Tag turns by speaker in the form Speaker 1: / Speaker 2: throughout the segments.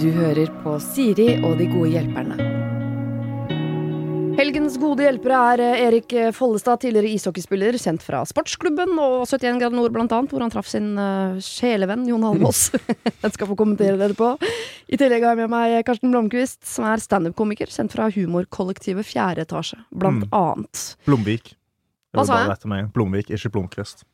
Speaker 1: Du hører på Siri og de gode hjelperne. Helgens gode hjelpere er eh, Erik Follestad, tidligere ishockeyspiller, kjent fra sportsklubben og 71 grader nord, blant annet, hvor han traff sin eh, sjelevenn Jon Almaas. Jeg skal få kommentere det etterpå. I tillegg har jeg med meg Karsten Blomkvist, som er standup-komiker, kjent fra humorkollektivet Fjerde etasje, blant
Speaker 2: Mm.
Speaker 1: annet.
Speaker 2: Blomvik. Det
Speaker 1: Hva
Speaker 2: var
Speaker 1: sa
Speaker 2: bare
Speaker 1: jeg?
Speaker 2: rett om meg. Blomvik, ikke Blomkvist.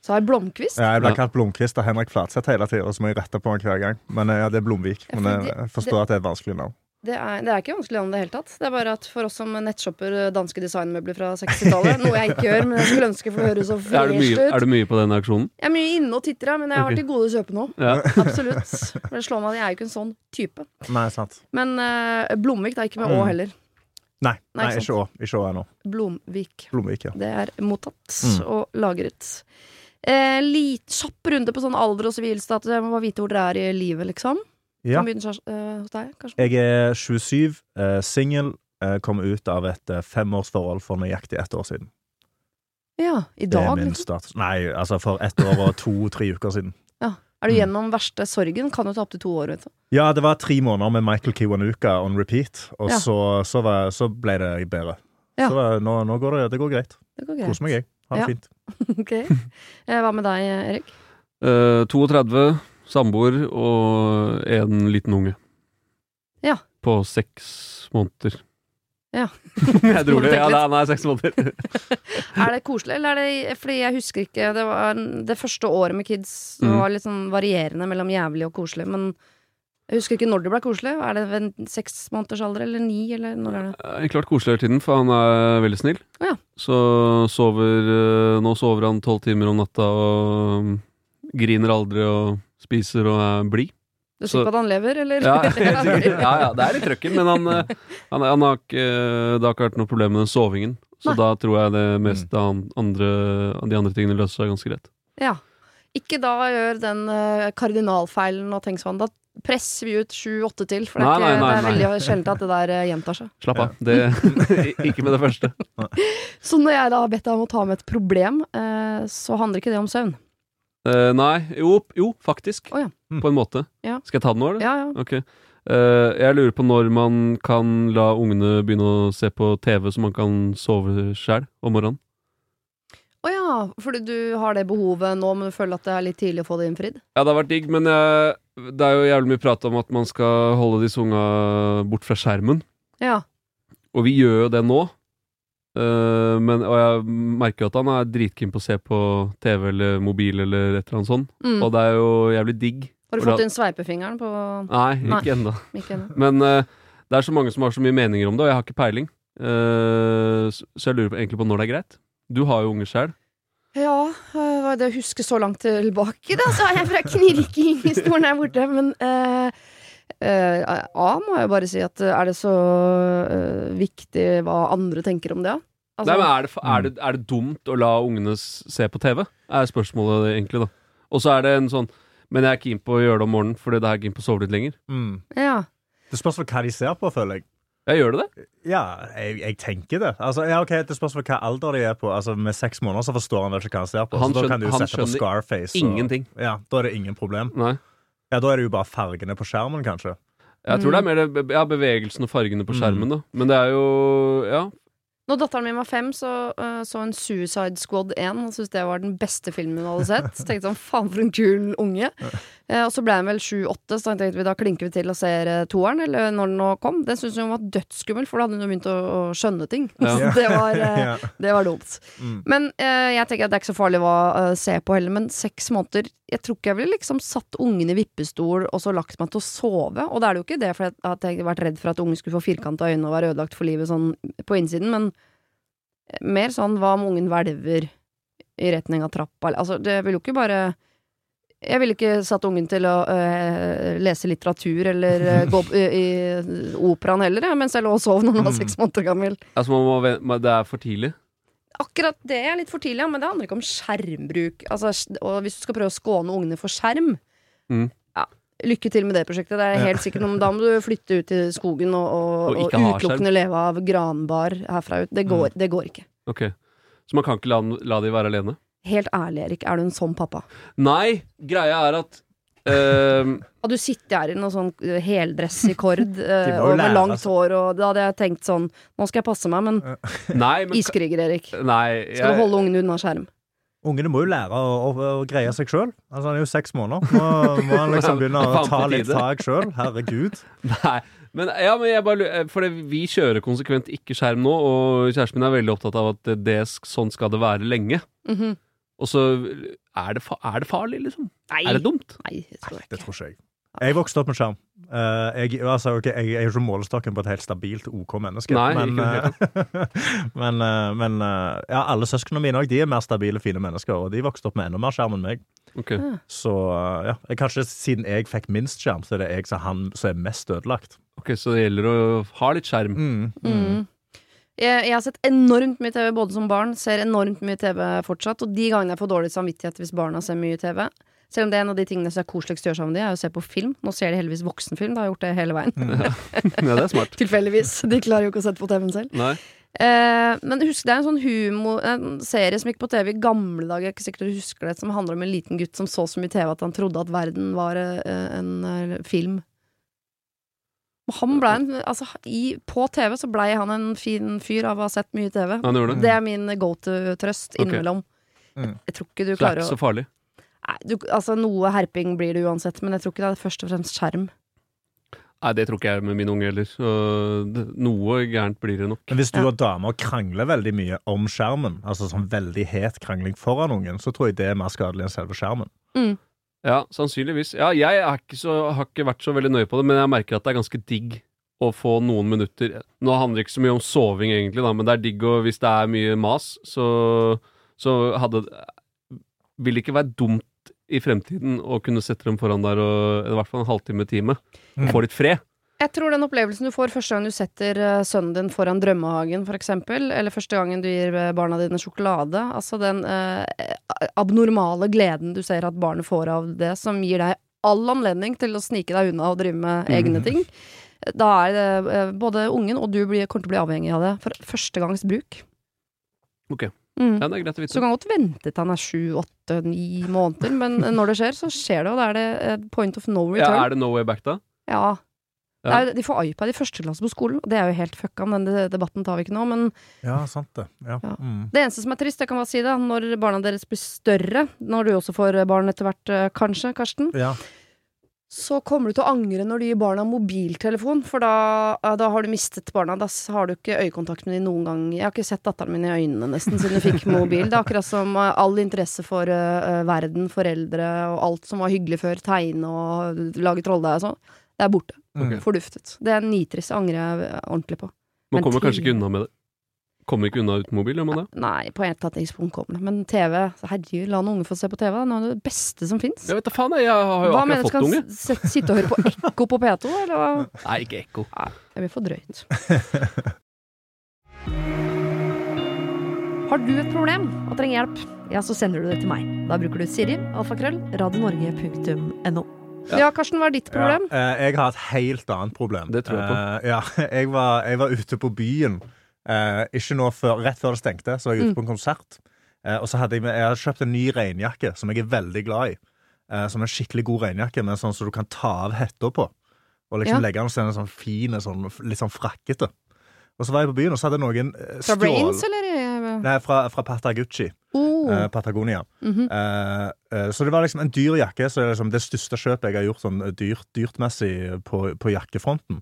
Speaker 1: Så har jeg Blomkvist.
Speaker 2: Ja, Jeg ble
Speaker 3: Ja.
Speaker 2: kalt Blomkvist av Henrik Flatseth hele tida, og så må jeg rette på meg hver gang. Men eh, ja, det er Blomvik.
Speaker 1: Ja,
Speaker 2: Men
Speaker 1: for
Speaker 2: jeg
Speaker 1: det-
Speaker 2: jeg forstår at det er et vanskelig navn.
Speaker 1: Det er, det er ikke vanskelig navn i det hele tatt. Det er bare at for oss som nettshopper danske designmøbler fra 60-tallet, noe jeg ikke gjør, men jeg skulle ønske for å høre så
Speaker 3: Er du,
Speaker 1: fresh
Speaker 3: mye, er
Speaker 1: ut.
Speaker 3: du mye på den aksjonen?
Speaker 1: Jeg er mye inne og titter, ja, men jeg har
Speaker 3: Ok.
Speaker 1: til gode å kjøpe noe.
Speaker 3: Ja.
Speaker 1: Absolutt. For det slår meg at jeg er jo ikke en sånn type.
Speaker 2: Nei, sant.
Speaker 1: Men eh, Blomvik, da. Ikke med Å
Speaker 2: Mm.
Speaker 1: heller.
Speaker 2: Nei,
Speaker 1: Nei,
Speaker 2: nei,
Speaker 1: ikke
Speaker 2: ikke Å. Ikke Å ennå.
Speaker 1: Blomvik.
Speaker 2: Blomvik, ja.
Speaker 1: Det er mottatt
Speaker 2: Mm.
Speaker 1: og lagret. Eh, lit, kjapp runde på sånn alder og sivilstatus. Jeg må bare vite hvor dere er i livet, liksom.
Speaker 2: ja.
Speaker 1: Kan begynne Kjars- eh, hos deg, kanskje.
Speaker 2: Jeg er 27, eh, singel, eh, kom ut av et eh, femårsforhold for nøyaktig ett år siden.
Speaker 1: Ja, i
Speaker 2: Det er
Speaker 1: dag,
Speaker 2: min
Speaker 1: liksom.
Speaker 2: status. Nei, altså for ett år og to-tre uker siden.
Speaker 1: Er du
Speaker 2: Mm.
Speaker 1: gjennom verste sorgen? Kan jo ta opptil to år, vet du.
Speaker 2: Ja, det var tre måneder med Michael Kiwanuka on repeat, og
Speaker 1: Ja.
Speaker 2: så, så, var, så ble det bedre.
Speaker 1: Ja.
Speaker 2: Så eh, nå, nå går det, det går greit.
Speaker 1: Det går greit.
Speaker 2: Koser meg, jeg. Ha det
Speaker 1: Ja.
Speaker 2: fint.
Speaker 1: Ok. Eh, Hva med deg, Erik?
Speaker 3: Eh, 32, samboer og en liten unge.
Speaker 1: Ja.
Speaker 3: På seks måneder.
Speaker 1: Ja.
Speaker 3: jeg dro det.
Speaker 1: Tenk
Speaker 3: Ja,
Speaker 1: litt.
Speaker 3: nei, nei, seks måneder.
Speaker 1: Er det koselig, eller er det Fordi jeg husker ikke Det, var, det første året med kids
Speaker 3: Mm.
Speaker 1: var litt sånn varierende mellom jævlig og koselig, men jeg husker ikke når det ble koselig. Er det ved en seks måneders alder, eller ni, eller når er det?
Speaker 3: Eh, Klart koselig hele tiden, for han er veldig snill.
Speaker 1: Ja.
Speaker 3: Så sover eh, Nå sover han tolv timer om natta og mm, griner aldri og spiser og er blid.
Speaker 1: Du er
Speaker 3: Så-
Speaker 1: sikker på at han lever, eller?
Speaker 3: Ja, helt sikkert. ja, ja, det er litt trøkken, men han, eh, han, han har ikke, eh, det har ikke vært noe problem med den sovingen. Så
Speaker 1: Nei.
Speaker 3: da tror jeg det meste an- andre, de andre tingene løser seg ganske greit.
Speaker 1: Ja. Ikke da gjør den eh, kardinalfeilen og tenk sånn. Da presser vi ut sju-åtte til, for det er,
Speaker 3: Nei,
Speaker 1: ikke,
Speaker 3: nei, nei,
Speaker 1: det er veldig sjelden at det der eh, gjentar seg.
Speaker 3: Slapp av. Det, ikke med det første.
Speaker 1: Så når jeg da har bedt deg om å ta med et problem, eh, så handler ikke det om søvn.
Speaker 3: Eh, nei, jo, jo faktisk.
Speaker 1: Å ja.
Speaker 3: På en måte.
Speaker 1: Ja.
Speaker 3: Skal jeg ta den nå, eller?
Speaker 1: Ja, ja.
Speaker 3: Ok. Eh, jeg lurer på når man kan la ungene begynne å se på TV, så man kan sove sjæl om morgenen.
Speaker 1: Å ja, fordi du har det behovet nå, men du føler at det er litt tidlig å få det innfridd?
Speaker 3: Ja, det har vært digg, men jeg, det er jo jævlig mye prat om at man skal holde disse unga bort fra skjermen.
Speaker 1: Ja.
Speaker 3: Og vi gjør jo det nå. Eh, men, og jeg merker jo at han er dritkeen på å se på TV eller mobil eller et eller annet sånt.
Speaker 1: Mm.
Speaker 3: Og det er jo jævlig digg.
Speaker 1: Har du
Speaker 3: hvordan-
Speaker 1: fått inn sveipefingeren på
Speaker 3: Nei,
Speaker 1: Nei.
Speaker 3: ikke ennå.
Speaker 1: Ikke ennå.
Speaker 3: Men eh, det er så mange som har så mye meninger om det, og jeg har ikke peiling. Eh, s- så jeg lurer på, egentlig på når det er greit. Du har jo unger sjøl.
Speaker 1: Ja, øh, var det å huske så langt tilbake, da, så er jeg fra knirking i stolen her borte, men eh, eh, A må jeg bare si at eh, er det så eh, viktig hva andre tenker om det, ja? Altså,
Speaker 3: er, det fa- er, det- er det dumt å la ungene s- se på TV? Er spørsmålet egentlig, da. Og så er det en sånn Men jeg er keen på å gjøre det om morgenen, fordi det er keen på å sove litt lenger.
Speaker 2: Mm.
Speaker 1: ja.
Speaker 2: Det spørs vel hva de ser på, føler jeg.
Speaker 3: Ja, gjør det det?
Speaker 2: Ja, jeg, jeg tenker det. Altså, ja, ok, Det spørs vel hva alder de er på. Altså, Med seks måneder så forstår han vel ikke hva han ser på.
Speaker 3: Han
Speaker 2: så da
Speaker 3: skjønner-
Speaker 2: kan du jo
Speaker 3: han
Speaker 2: sette på
Speaker 3: skjønner
Speaker 2: Scarface. og-
Speaker 3: Ingenting.
Speaker 2: Ja, Da er det ingen problem.
Speaker 3: Nei.
Speaker 2: Ja, Da er det jo bare fargene på skjermen, kanskje.
Speaker 3: Jeg tror det er
Speaker 1: Mm.
Speaker 3: mer det- ja, bevegelsen og fargene på skjermen, da. Men det er jo Ja.
Speaker 1: Når datteren min var fem, så øh, så hun Suicide Squad 1. Hun syntes det var den beste filmen hun hadde sett. Så tenkte jeg sånn, faen for en kul unge. Eh, og så ble hun vel sju-åtte, så tenkte vi da klinker vi til og ser eh, toeren, eller når den nå kom. Den syntes hun var dødsskummel, for da hadde hun jo begynt å, å skjønne ting.
Speaker 3: Ja.
Speaker 1: Så det var, eh,
Speaker 2: Ja.
Speaker 1: det var dumt.
Speaker 2: Mm.
Speaker 1: Men eh, jeg tenker at det er ikke så farlig hva eh, se på heller, men seks måneder Jeg tror ikke jeg ville liksom satt ungen i vippestol og så lagt meg til å sove. Og da er det jo ikke det for at at jeg har vært redd for at ungen skulle få firkanta øyne og være ødelagt for livet sånn på innsiden, men mer sånn hva om ungen hvelver i retning av trappa eller- Altså, det vil jo ikke bare jeg ville ikke satt ungen til å eh, lese litteratur eller eh, gå på- i, i operaen heller, jeg, mens jeg lå og sov når han var
Speaker 2: Mm.
Speaker 1: seks måneder gammel.
Speaker 3: Altså, man må ven- man- Det er for tidlig.
Speaker 1: Akkurat det er litt for tidlig, ja, men det handler ikke om skjermbruk. Altså, s- og hvis du skal prøve å skåne ungene for skjerm,
Speaker 3: Mm.
Speaker 1: ja, lykke til med det prosjektet. Det er helt sikkert noe, men Da må du flytte ut i skogen og,
Speaker 3: Og
Speaker 1: og, og,
Speaker 3: ikke ha
Speaker 1: utelukkende leve av granbar herfra ut. Det går, det går ikke.
Speaker 3: Ok. Så man kan ikke la, den- la de være alene?
Speaker 1: Helt ærlig, Erik, er du en sånn pappa?
Speaker 3: Nei, greia er at ehm,
Speaker 1: Hadde du sittet her i noe sånn eh, heldress i kord
Speaker 2: De må
Speaker 1: eh,
Speaker 2: jo
Speaker 1: og med
Speaker 2: lære,
Speaker 1: langt
Speaker 2: altså.
Speaker 1: hår, og da hadde jeg tenkt sånn Nå skal jeg passe meg, men
Speaker 3: Nei, men
Speaker 1: iskryger, Erik.
Speaker 3: Nei,
Speaker 1: Skal du
Speaker 3: jeg,
Speaker 1: holde ungene unna skjerm?
Speaker 2: Ungene må jo lære å, å, å greie seg sjøl. Altså, han er jo seks måneder. Må, må han liksom begynne å
Speaker 3: Faen på
Speaker 2: ta litt
Speaker 3: tide.
Speaker 2: tak sjøl? Herregud.
Speaker 3: nei. Men, ja, men jeg bare lurer For det- vi kjører konsekvent ikke skjerm nå, og kjæresten min er veldig opptatt av at det, det, sånn skal det være lenge.
Speaker 1: Mhm.
Speaker 3: Og så er det, fa er det farlig, liksom?
Speaker 1: Nei.
Speaker 3: Er det dumt?
Speaker 1: Nei, det tror jeg
Speaker 2: Det
Speaker 1: ikke.
Speaker 2: tror ikke jeg. Jeg vokste opp med skjerm. Eh, jeg, altså, ok, jeg, jeg er jo ikke målestokken på et helt stabilt OK menneske,
Speaker 3: Nei,
Speaker 2: men,
Speaker 3: ikke
Speaker 2: eh, men, eh, men eh, ja, alle søsknene mine også, de er mer stabile, fine mennesker, og de vokste opp med enda mer skjerm enn meg.
Speaker 3: Ok.
Speaker 1: Ah.
Speaker 2: Så eh, ja, jeg- kanskje siden jeg fikk minst skjerm, så er det jeg som, han, som er mest ødelagt.
Speaker 3: ok, så det gjelder å ha litt skjerm.
Speaker 2: Mm.
Speaker 1: Mm. Jeg, jeg har sett enormt mye TV både som barn, ser enormt mye TV fortsatt. Og de gangene jeg får dårlig samvittighet hvis barna ser mye TV Selv om det er en av de tingene som er koseligst å gjøre sammen med de, er å se på film. Nå ser de heldigvis voksenfilm, det har jeg gjort det hele veien.
Speaker 2: mm.
Speaker 3: Ja, det er smart.
Speaker 1: Tilfeldigvis. De klarer jo ikke å sette på TV-en selv.
Speaker 3: Nei.
Speaker 1: Eh, men husk, det er en sånn humo, en serie som gikk på TV i gamle dager, jeg er ikke sikkert du husker det, som handler om en liten gutt som så så mye TV at han trodde at verden var eh, en eh, film. Og han ble en, altså, i, på TV så blei han en fin fyr av å ha sett mye TV.
Speaker 3: Han gjorde det.
Speaker 1: Det er min go to-trøst
Speaker 3: Mm. Ok.
Speaker 1: innimellom.
Speaker 2: Mm.
Speaker 1: Jeg tror ikke du
Speaker 3: Så det er
Speaker 1: klarer
Speaker 3: ikke
Speaker 1: å
Speaker 3: så farlig.
Speaker 1: Nei, du, Altså, noe herping blir det uansett, men jeg tror ikke det er først og fremst skjerm.
Speaker 3: Nei, det tror ikke jeg med min unge heller. Så det- noe gærent blir det nok.
Speaker 2: Men hvis du
Speaker 1: Ja.
Speaker 2: og damer krangler veldig mye om skjermen, altså sånn veldig het krangling foran ungen, så tror jeg det er mer skadelig enn selve skjermen.
Speaker 3: Ja, sannsynligvis. Ja, jeg er ikke så, har ikke vært så veldig nøye på det, men jeg merker at det er ganske digg å få noen minutter Nå handler det ikke så mye om soving, egentlig, da, men det er digg å Hvis det er mye mas, så, så hadde Vil det ikke være dumt i fremtiden å kunne sette dem foran der og i hvert fall en halvtime-time.
Speaker 2: Mm.
Speaker 3: Få litt fred.
Speaker 1: Jeg tror den opplevelsen du får første gang du setter eh, sønnen din foran drømmehagen, for eksempel, eller første gangen du gir eh, barna dine sjokolade, altså den eh, abnormale gleden du ser at barnet får av det, som gir deg all anledning til å snike deg unna og drive med
Speaker 3: Mm.
Speaker 1: egne ting, da er det eh, både ungen og du blir, kommer til å bli avhengig av det for første gangs bruk.
Speaker 3: Ok.
Speaker 1: Mm.
Speaker 3: Ja, det er greit å
Speaker 1: Så du
Speaker 3: vite.
Speaker 1: kan godt vente til han er sju, åtte, ni måneder, men når det skjer, så skjer det, og da er det eh, point of no return.
Speaker 3: Ja, er det no way back, da?
Speaker 1: Ja.
Speaker 3: Ja.
Speaker 1: Det er, de får iPad i første klasse på skolen, og det er jo helt fucka, men den de- debatten tar vi ikke nå. Men
Speaker 2: Ja, sant det. Ja.
Speaker 1: Ja.
Speaker 2: Mm.
Speaker 1: det eneste som er trist, jeg kan bare si det, når barna deres blir større, når du også får barn etter hvert, eh, kanskje, Karsten,
Speaker 2: ja.
Speaker 1: så kommer du til å angre når du gir barna mobiltelefon, for da, eh, da har du mistet barna. Da s- har du ikke øyekontakt med dem noen gang. Jeg har ikke sett datteren min i øynene nesten siden hun fikk mobil. Det er akkurat som eh, all interesse for eh, eh, verden, foreldre og alt som var hyggelig før, tegne og lage trolldeig og sånn, det er borte.
Speaker 2: Mm.
Speaker 1: Forduftet. Det er nitrist. Det angrer jeg eh, ordentlig på.
Speaker 3: Man
Speaker 1: Men
Speaker 3: kommer kanskje
Speaker 1: tid-
Speaker 3: ikke unna med det. Kommer ikke unna uten mobil, gjør man det?
Speaker 1: Nei, på et eller annet tidspunkt kommer det. Men TV Herregud, la noen unge få se på TV. Det er noe av det beste som fins.
Speaker 3: Jeg vet da faen, jeg, jeg har jo
Speaker 1: Hva
Speaker 3: akkurat
Speaker 1: mener du
Speaker 3: fått
Speaker 1: skal
Speaker 3: unge.
Speaker 1: s- sette- sitte og høre på ekko på P2, eller hva?
Speaker 3: Nei, ikke ekko.
Speaker 1: Det blir for drøyt. Har du et problem og trenger hjelp, ja, så sender du det til meg. Da bruker du Siri, alfakrøll, radionorge.no. Ja. Karsten, hva er ditt problem?
Speaker 2: Ja, eh, jeg har et helt annet problem.
Speaker 3: Det tror jeg på.
Speaker 2: Eh, ja, jeg, var, jeg var ute på byen eh, ikke nå før, rett før det stengte, så var
Speaker 1: Mm.
Speaker 2: jeg ute på en konsert. Eh, og så hadde jeg, med- jeg hadde kjøpt en ny regnjakke som jeg er veldig glad i. Eh, som er en skikkelig god regnjakke, men sånn som du kan ta av hetta på. Og liksom
Speaker 1: Ja.
Speaker 2: legge den sånn, sånn fin, sånn, litt sånn frakkete. Og så var jeg på byen, og så hadde noen eh,
Speaker 1: Fra Brains,
Speaker 2: stjålet
Speaker 1: eller? i-
Speaker 2: Nei, fra, fra Patagucci.
Speaker 1: Oh.
Speaker 2: eh, Patagonia.
Speaker 1: mhm.
Speaker 2: Eh, eh, så det var liksom en dyr jakke. Så det, er liksom det største kjøpet jeg har gjort sånn dyrt, dyrtmessig på, på jakkefronten.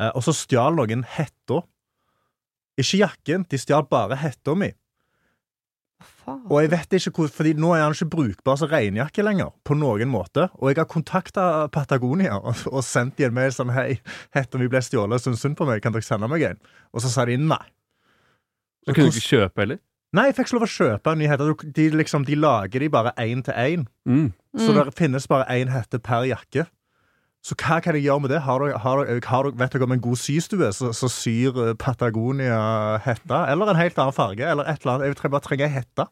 Speaker 2: Eh, og så stjal noen hetta. Ikke jakken, de stjal bare hetta mi.
Speaker 1: Faen.
Speaker 2: Og jeg vet ikke hvor, fordi nå er han ikke brukbar som regnjakke lenger, på noen måte. Og jeg har kontakta Patagonia og, og sendt de en mail sånn Hei, hetta mi ble stjålet, syns synd på meg, kan dere sende meg en? Og så sa de nei.
Speaker 3: Så kunne du ikke kjøpe heller.
Speaker 2: Nei, jeg fikk ikke lov å kjøpe en ny hette. De, liksom, de lager de bare én til én.
Speaker 3: Mm.
Speaker 2: Så
Speaker 1: Mm.
Speaker 2: det finnes bare én hette per jakke. Så hva kan jeg gjøre med det? Har dere, har dere, har dere, vet dere om en god systue som som syr eh, Patagonia hette? Eller en helt annen farge? Eller et eller annet. Jeg trenger bare trenger ei hette.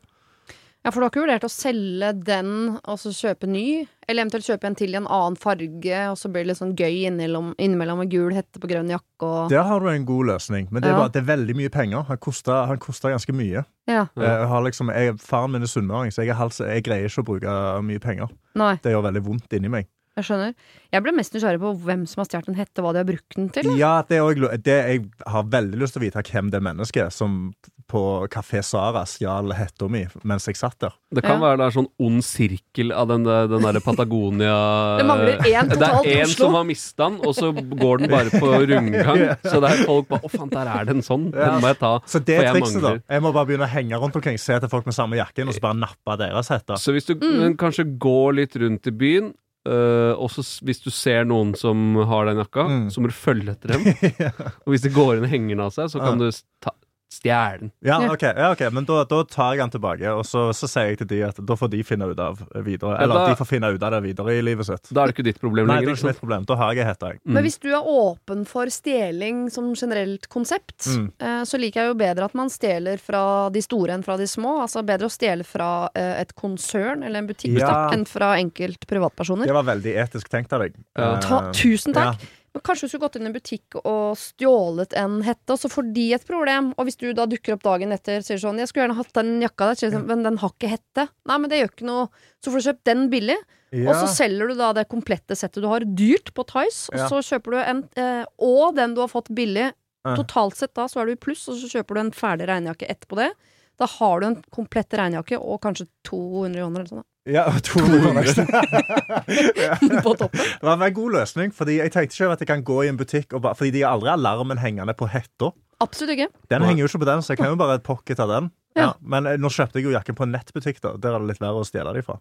Speaker 1: Ja, for du har ikke vurdert å selge den og så kjøpe ny? Eller eventuelt kjøpe en til i en annen farge, og så blir det litt sånn gøy innimellom, innimellom med gul hette på grønn jakke og
Speaker 2: Der har du en god løsning, men det er,
Speaker 1: Ja.
Speaker 2: bare, det er veldig mye penger. Han koster, han koster ganske mye.
Speaker 1: Ja.
Speaker 3: Ja.
Speaker 2: Eh, Jeg har liksom, jeg, faren min er sunnmøring, så jeg, er halvt- så jeg greier ikke å bruke mye penger.
Speaker 1: Nei,
Speaker 2: Det gjør veldig vondt inni meg.
Speaker 1: jeg skjønner. Jeg ble mest nysgjerrig på hvem som har stjålet en hette, hva de har brukt den til.
Speaker 2: Ja, det, er også lo- det Jeg har veldig lyst til å vite hvem det mennesket er som på Kafé Sara stjal hetta mi mens jeg satt der.
Speaker 3: Det kan
Speaker 1: Ja.
Speaker 3: være det er sånn ond sirkel av den, der- den derre Patagonia
Speaker 1: Det mangler én
Speaker 3: Det
Speaker 1: totalt i
Speaker 3: er én
Speaker 1: Oslo.
Speaker 3: som har mista den, og så går den bare på rundgang. Så det er folk bare 'Å, faen, der er det en sånn. Den må jeg ta'.
Speaker 2: Så det
Speaker 3: For
Speaker 2: er
Speaker 3: jeg
Speaker 2: trikset, da.
Speaker 3: mangler.
Speaker 2: Jeg må bare begynne å henge rundt omkring, se til folk med samme jakken, og så bare nappe deres hette.
Speaker 3: Så hvis du
Speaker 1: Mm.
Speaker 3: men kanskje går litt rundt i byen, øh, og så s- hvis du ser noen som har den jakka,
Speaker 2: Mm.
Speaker 3: så må du følge etter dem. Og hvis de går inn og henger den av seg, så kan du ta- stjele den.
Speaker 2: Ja,
Speaker 1: Ja.
Speaker 2: ok, ja, ok, Men da, da tar jeg den tilbake, og så, så sier jeg til de at da får de finne ut av videre.
Speaker 3: Ja,
Speaker 2: Eller
Speaker 3: da-
Speaker 2: at de får finne ut av det videre i livet sitt.
Speaker 3: Da er det sånn. ikke ditt problem
Speaker 2: Nei,
Speaker 3: lenger.
Speaker 2: det er
Speaker 3: ikke
Speaker 2: ikke
Speaker 3: sant?
Speaker 2: mitt problem. Da har jeg ei hette, jeg.
Speaker 1: Men hvis du er åpen for stjeling som generelt konsept,
Speaker 2: Mm.
Speaker 1: eh, så liker jeg jo bedre at man stjeler fra de store enn fra de små. Altså bedre å stjele fra eh, et konsern eller en butikk
Speaker 2: Ja.
Speaker 1: da, enn fra enkelt privatpersoner.
Speaker 2: Det var veldig etisk tenkt av deg.
Speaker 3: Ja.
Speaker 2: Eh,
Speaker 1: Ta, tusen takk! Men kanskje du skulle gått inn i en butikk og stjålet en hette, og så får de et problem. Og hvis du da dukker opp dagen etter og sier sånn 'Jeg skulle gjerne hatt den jakka der', sier de sånn, men den har ikke hette. Nei, men det gjør ikke noe. Så får du kjøpt den billig,
Speaker 2: Ja.
Speaker 1: og så selger du da det komplette settet du har, dyrt på Tice. Og
Speaker 2: Ja.
Speaker 1: så kjøper du en eh, Og den du har fått billig.
Speaker 2: Ja.
Speaker 1: Totalt sett da så er du i pluss, og så kjøper du en ferdig regnjakke etterpå det. Da har du en komplett regnjakke og kanskje 200 joner eller sånn
Speaker 2: ja, 200 kroner ekstra.
Speaker 1: da, på toppen.
Speaker 2: Det var en god løsning, fordi jeg tenkte ikke at jeg kan gå i en butikk og bare, Fordi de har aldri alarmen hengende på hetta.
Speaker 1: Absolutt ikke.
Speaker 2: Den
Speaker 3: Nei.
Speaker 2: henger jo ikke på den, så jeg kan jo bare pocket av den.
Speaker 1: Ja.
Speaker 2: Ja. Men eh, nå kjøpte jeg jo jakken på en nettbutikk, da. Der er det litt verre å stjele de fra.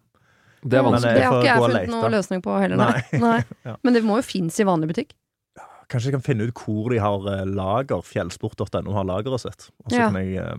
Speaker 3: Det er
Speaker 2: Men,
Speaker 3: vanskelig.
Speaker 2: eh,
Speaker 1: Det har
Speaker 2: får
Speaker 1: ikke jeg
Speaker 2: gå og
Speaker 1: funnet
Speaker 2: lete.
Speaker 1: noen løsning på heller. Nei. Nei.
Speaker 2: Ja.
Speaker 1: Men det må jo finnes i vanlig butikk.
Speaker 2: Kanskje jeg kan finne ut hvor de har eh, lager. Fjellsport.no har lageret sitt. Og så
Speaker 1: Ja.
Speaker 2: kan jeg eh,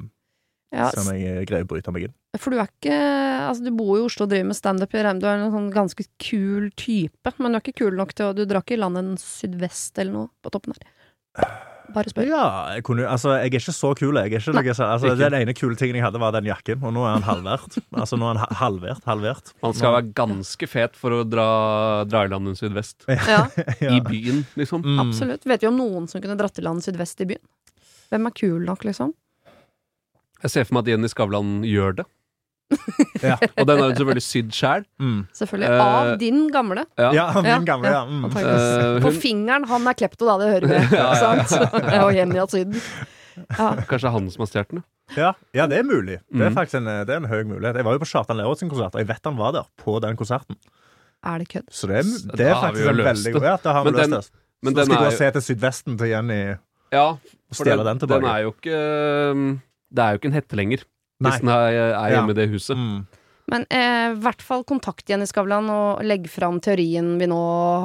Speaker 1: Ja,
Speaker 2: se om jeg eh, greier å bryte meg inn.
Speaker 1: for du er ikke Altså, du bor jo i Oslo og driver med standup. i Reim. Du er en sånn ganske kul type, men du er ikke kul nok til å Du drar ikke i land en sydvest eller noe på toppen her. Bare spør.
Speaker 2: Ja, jeg, kunne, altså, jeg er ikke så kul. Jeg er ikke, noe sånn- altså,
Speaker 3: Ikke.
Speaker 2: Den ene kule tingen jeg hadde, var den jakken, og nå er han halvert. altså, nå er han ha- halvert, halvert.
Speaker 3: Man skal være ganske fet for å dra, dra i land en sydvest.
Speaker 1: Ja,
Speaker 3: I byen, liksom.
Speaker 2: Mm.
Speaker 1: absolutt. Vet vi om noen som kunne dratt i land sydvest i byen? Hvem er kul nok, liksom?
Speaker 3: Jeg ser for meg at Jenny Skavlan gjør det.
Speaker 2: Ja.
Speaker 3: Og den er hun selvfølgelig sydd sjæl.
Speaker 2: Mm.
Speaker 1: Selvfølgelig.
Speaker 3: Eh,
Speaker 1: Av din gamle.
Speaker 3: Ja.
Speaker 2: Ja, min
Speaker 1: Ja,
Speaker 2: gamle, ja. Mm.
Speaker 1: Antageligvis.
Speaker 3: Eh,
Speaker 1: På
Speaker 3: hun,
Speaker 1: fingeren. Han er klepto, da, det hører vi.
Speaker 3: Ja, ja, ja.
Speaker 1: Sant? Og Jenny av Syden. Ja.
Speaker 3: kanskje det er han som har stjålet den? ja.
Speaker 2: Ja, ja, det er mulig. Det er
Speaker 3: Mm.
Speaker 2: faktisk en, eh, det er en høy mulighet. Jeg var jo på Kjartan Lerud sin konsert, og jeg vet han var der på den konserten.
Speaker 1: Er det kødd?
Speaker 2: Så det er,
Speaker 3: Så
Speaker 2: det
Speaker 3: da
Speaker 2: er
Speaker 3: har vi
Speaker 2: faktisk
Speaker 3: jo
Speaker 2: en
Speaker 3: løst
Speaker 2: veldig
Speaker 3: det.
Speaker 2: god ja, Da har vi
Speaker 3: Men
Speaker 2: løst
Speaker 3: den-
Speaker 2: det.
Speaker 3: men
Speaker 2: Så
Speaker 3: den
Speaker 2: skal
Speaker 3: er
Speaker 2: du
Speaker 3: jo-
Speaker 2: og se til Sydvesten til Jenny
Speaker 3: Ja,
Speaker 2: og
Speaker 3: for
Speaker 2: stjele den
Speaker 3: Den
Speaker 2: tilbake.
Speaker 3: er jo ikke um, Det er jo ikke en hette lenger.
Speaker 2: Nei.
Speaker 3: Hvis den er, er hjemme i det huset.
Speaker 2: Mm.
Speaker 1: Men eh, i hvert fall kontakt Jenny Skavlan og legg fram teorien vi nå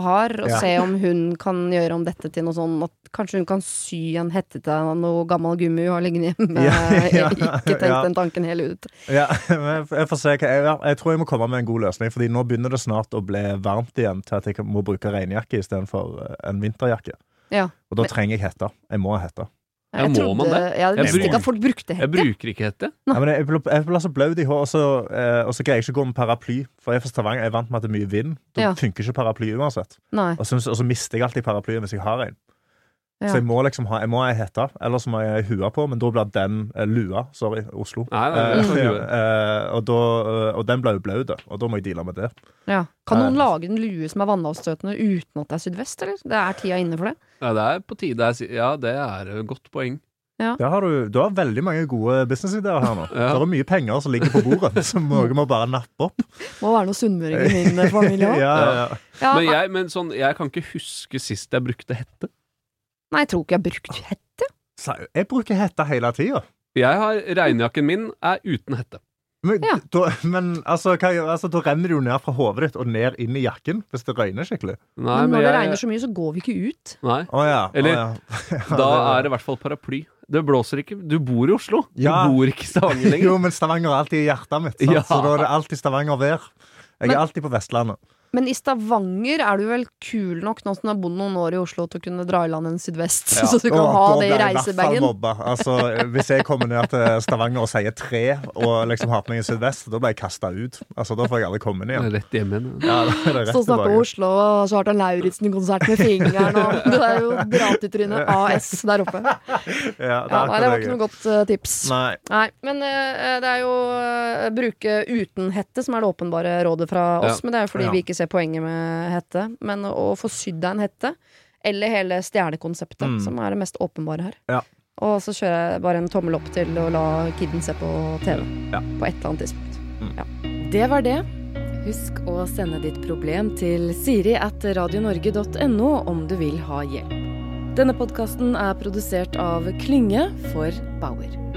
Speaker 1: har, og
Speaker 2: Ja.
Speaker 1: se om hun kan gjøre om dette til noe sånn at kanskje hun kan sy en hette til noe gammel gummi hun har liggende hjemme.
Speaker 2: Ja, ja,
Speaker 1: Ikke tenkt
Speaker 2: ja.
Speaker 1: den tanken hele ut.
Speaker 2: Ja, men jeg får se hva jeg, ja, jeg tror jeg må komme med en god løsning, Fordi nå begynner det snart å bli varmt igjen til at jeg kan- må bruke regnjakke istedenfor eh, en vinterjakke.
Speaker 1: Ja.
Speaker 2: Og da
Speaker 1: Men-
Speaker 2: trenger jeg hette. Jeg må ha hette.
Speaker 3: Ja, må man det?
Speaker 1: Ja, jeg
Speaker 3: Jeg
Speaker 1: visste
Speaker 3: bruker-
Speaker 1: ikke at folk brukte
Speaker 3: Jeg
Speaker 1: hette.
Speaker 3: bruker ikke hette.
Speaker 2: Ja, men jeg, blir- jeg blir så blaut i håret, og så, eh, og så greier jeg ikke å gå med paraply. For jeg er fra Stavanger, jeg er vant med at det er mye vind. Da
Speaker 1: Ja.
Speaker 2: funker ikke paraply uansett.
Speaker 1: Nei.
Speaker 2: Og, så- og så mister jeg alltid paraplyen hvis jeg har en.
Speaker 1: Ja.
Speaker 2: Så jeg må liksom ha jeg må ha ei hette, eller så må jeg ha ei hue på, men da blir den eh, lua. Sorry, Oslo.
Speaker 3: Nei, nei,
Speaker 2: Eh,
Speaker 3: nei, sånn gjør jeg.
Speaker 2: eh, og, da, eh, og den ble jo blaut, og da må jeg deale med det.
Speaker 1: Ja. Kan noen
Speaker 2: Nei.
Speaker 1: lage en lue som er vannavstøtende uten at det er sydvest, eller? Det er tida inne for det.
Speaker 3: Nei, det er på tide. jeg si- Ja, det er et godt poeng.
Speaker 2: Der har du, du har veldig mange gode businessidéer her nå.
Speaker 3: Ja.
Speaker 2: Det er mye penger som ligger på bordet, som noen må bare nappe opp.
Speaker 1: Må være noe sunnmøring i min eh, familie
Speaker 2: Ja,
Speaker 1: òg.
Speaker 2: ja, ja.
Speaker 1: Ja,
Speaker 3: Men, jeg, men sånn, jeg kan ikke huske sist jeg brukte hette.
Speaker 1: nei, jeg tror ikke jeg har brukt hette.
Speaker 2: Så Jeg bruker hette hele tida.
Speaker 3: Jeg har, Regnjakken min er uten hette.
Speaker 2: Men,
Speaker 1: Ja.
Speaker 2: da, men altså, hva, gjør- altså, da renner det jo ned fra hodet ditt og ned inn i jakken hvis det røyner skikkelig.
Speaker 3: Nei,
Speaker 1: Men
Speaker 3: men
Speaker 1: når det
Speaker 3: jeg-
Speaker 1: regner så mye, så går vi ikke ut.
Speaker 3: Nei.
Speaker 2: Å ja. å
Speaker 3: Eller,
Speaker 2: ja. Ja,
Speaker 3: Da er det i hvert fall paraply. Det blåser ikke. Du bor i Oslo.
Speaker 2: Ja.
Speaker 3: Du bor ikke i Stavanger lenger.
Speaker 2: Jo, men Stavanger er alltid i hjertet mitt, sant?
Speaker 3: Ja.
Speaker 2: så da er det alltid Stavanger vær. Jeg
Speaker 1: Men-
Speaker 2: er alltid på Vestlandet.
Speaker 1: Men i Stavanger er du vel kul nok nå som du har bodd noen år i Oslo til å kunne dra i land en sydvest, så du kan
Speaker 2: Å,
Speaker 1: ha
Speaker 2: da
Speaker 1: det i
Speaker 2: blir jeg hvert fall
Speaker 1: reisebagen.
Speaker 2: mobba. Altså, hvis jeg kommer ned til Stavanger og sier tre, og liksom har på meg en sydvest, da blir jeg kasta ut. Altså, da får jeg aldri komme ned igjen.
Speaker 3: Rett hjemme igjen.
Speaker 2: Ja,
Speaker 3: ja.
Speaker 2: da er det rett
Speaker 1: Så snakker
Speaker 2: tilbake.
Speaker 1: Oslo og så har han Lauritzen-konsert med fingeren og Du er jo dratetrynet AS der oppe. Ja,
Speaker 2: Ja, det er
Speaker 1: nei, det var ikke
Speaker 2: akkurat det.
Speaker 1: noe godt eh, tips.
Speaker 2: Nei.
Speaker 1: Nei, men eh, det er jo eh, bruke uten hette som er det åpenbare rådet fra oss. Men det er jo fordi
Speaker 2: Ja.
Speaker 1: vi ikke ser poenget med hette. Men å få sydd deg en hette, eller hele stjernekonseptet,
Speaker 2: Mm.
Speaker 1: som er det mest åpenbare her.
Speaker 2: Ja.
Speaker 1: Og så kjører jeg bare en tommel opp til å la kiden se på TV.
Speaker 2: Ja.
Speaker 1: På et eller annet tidspunkt.
Speaker 4: Det var det. Husk å sende ditt problem til siri at radionorge.no om du vil ha hjelp. Denne podkasten er produsert av Klynge for Bauer.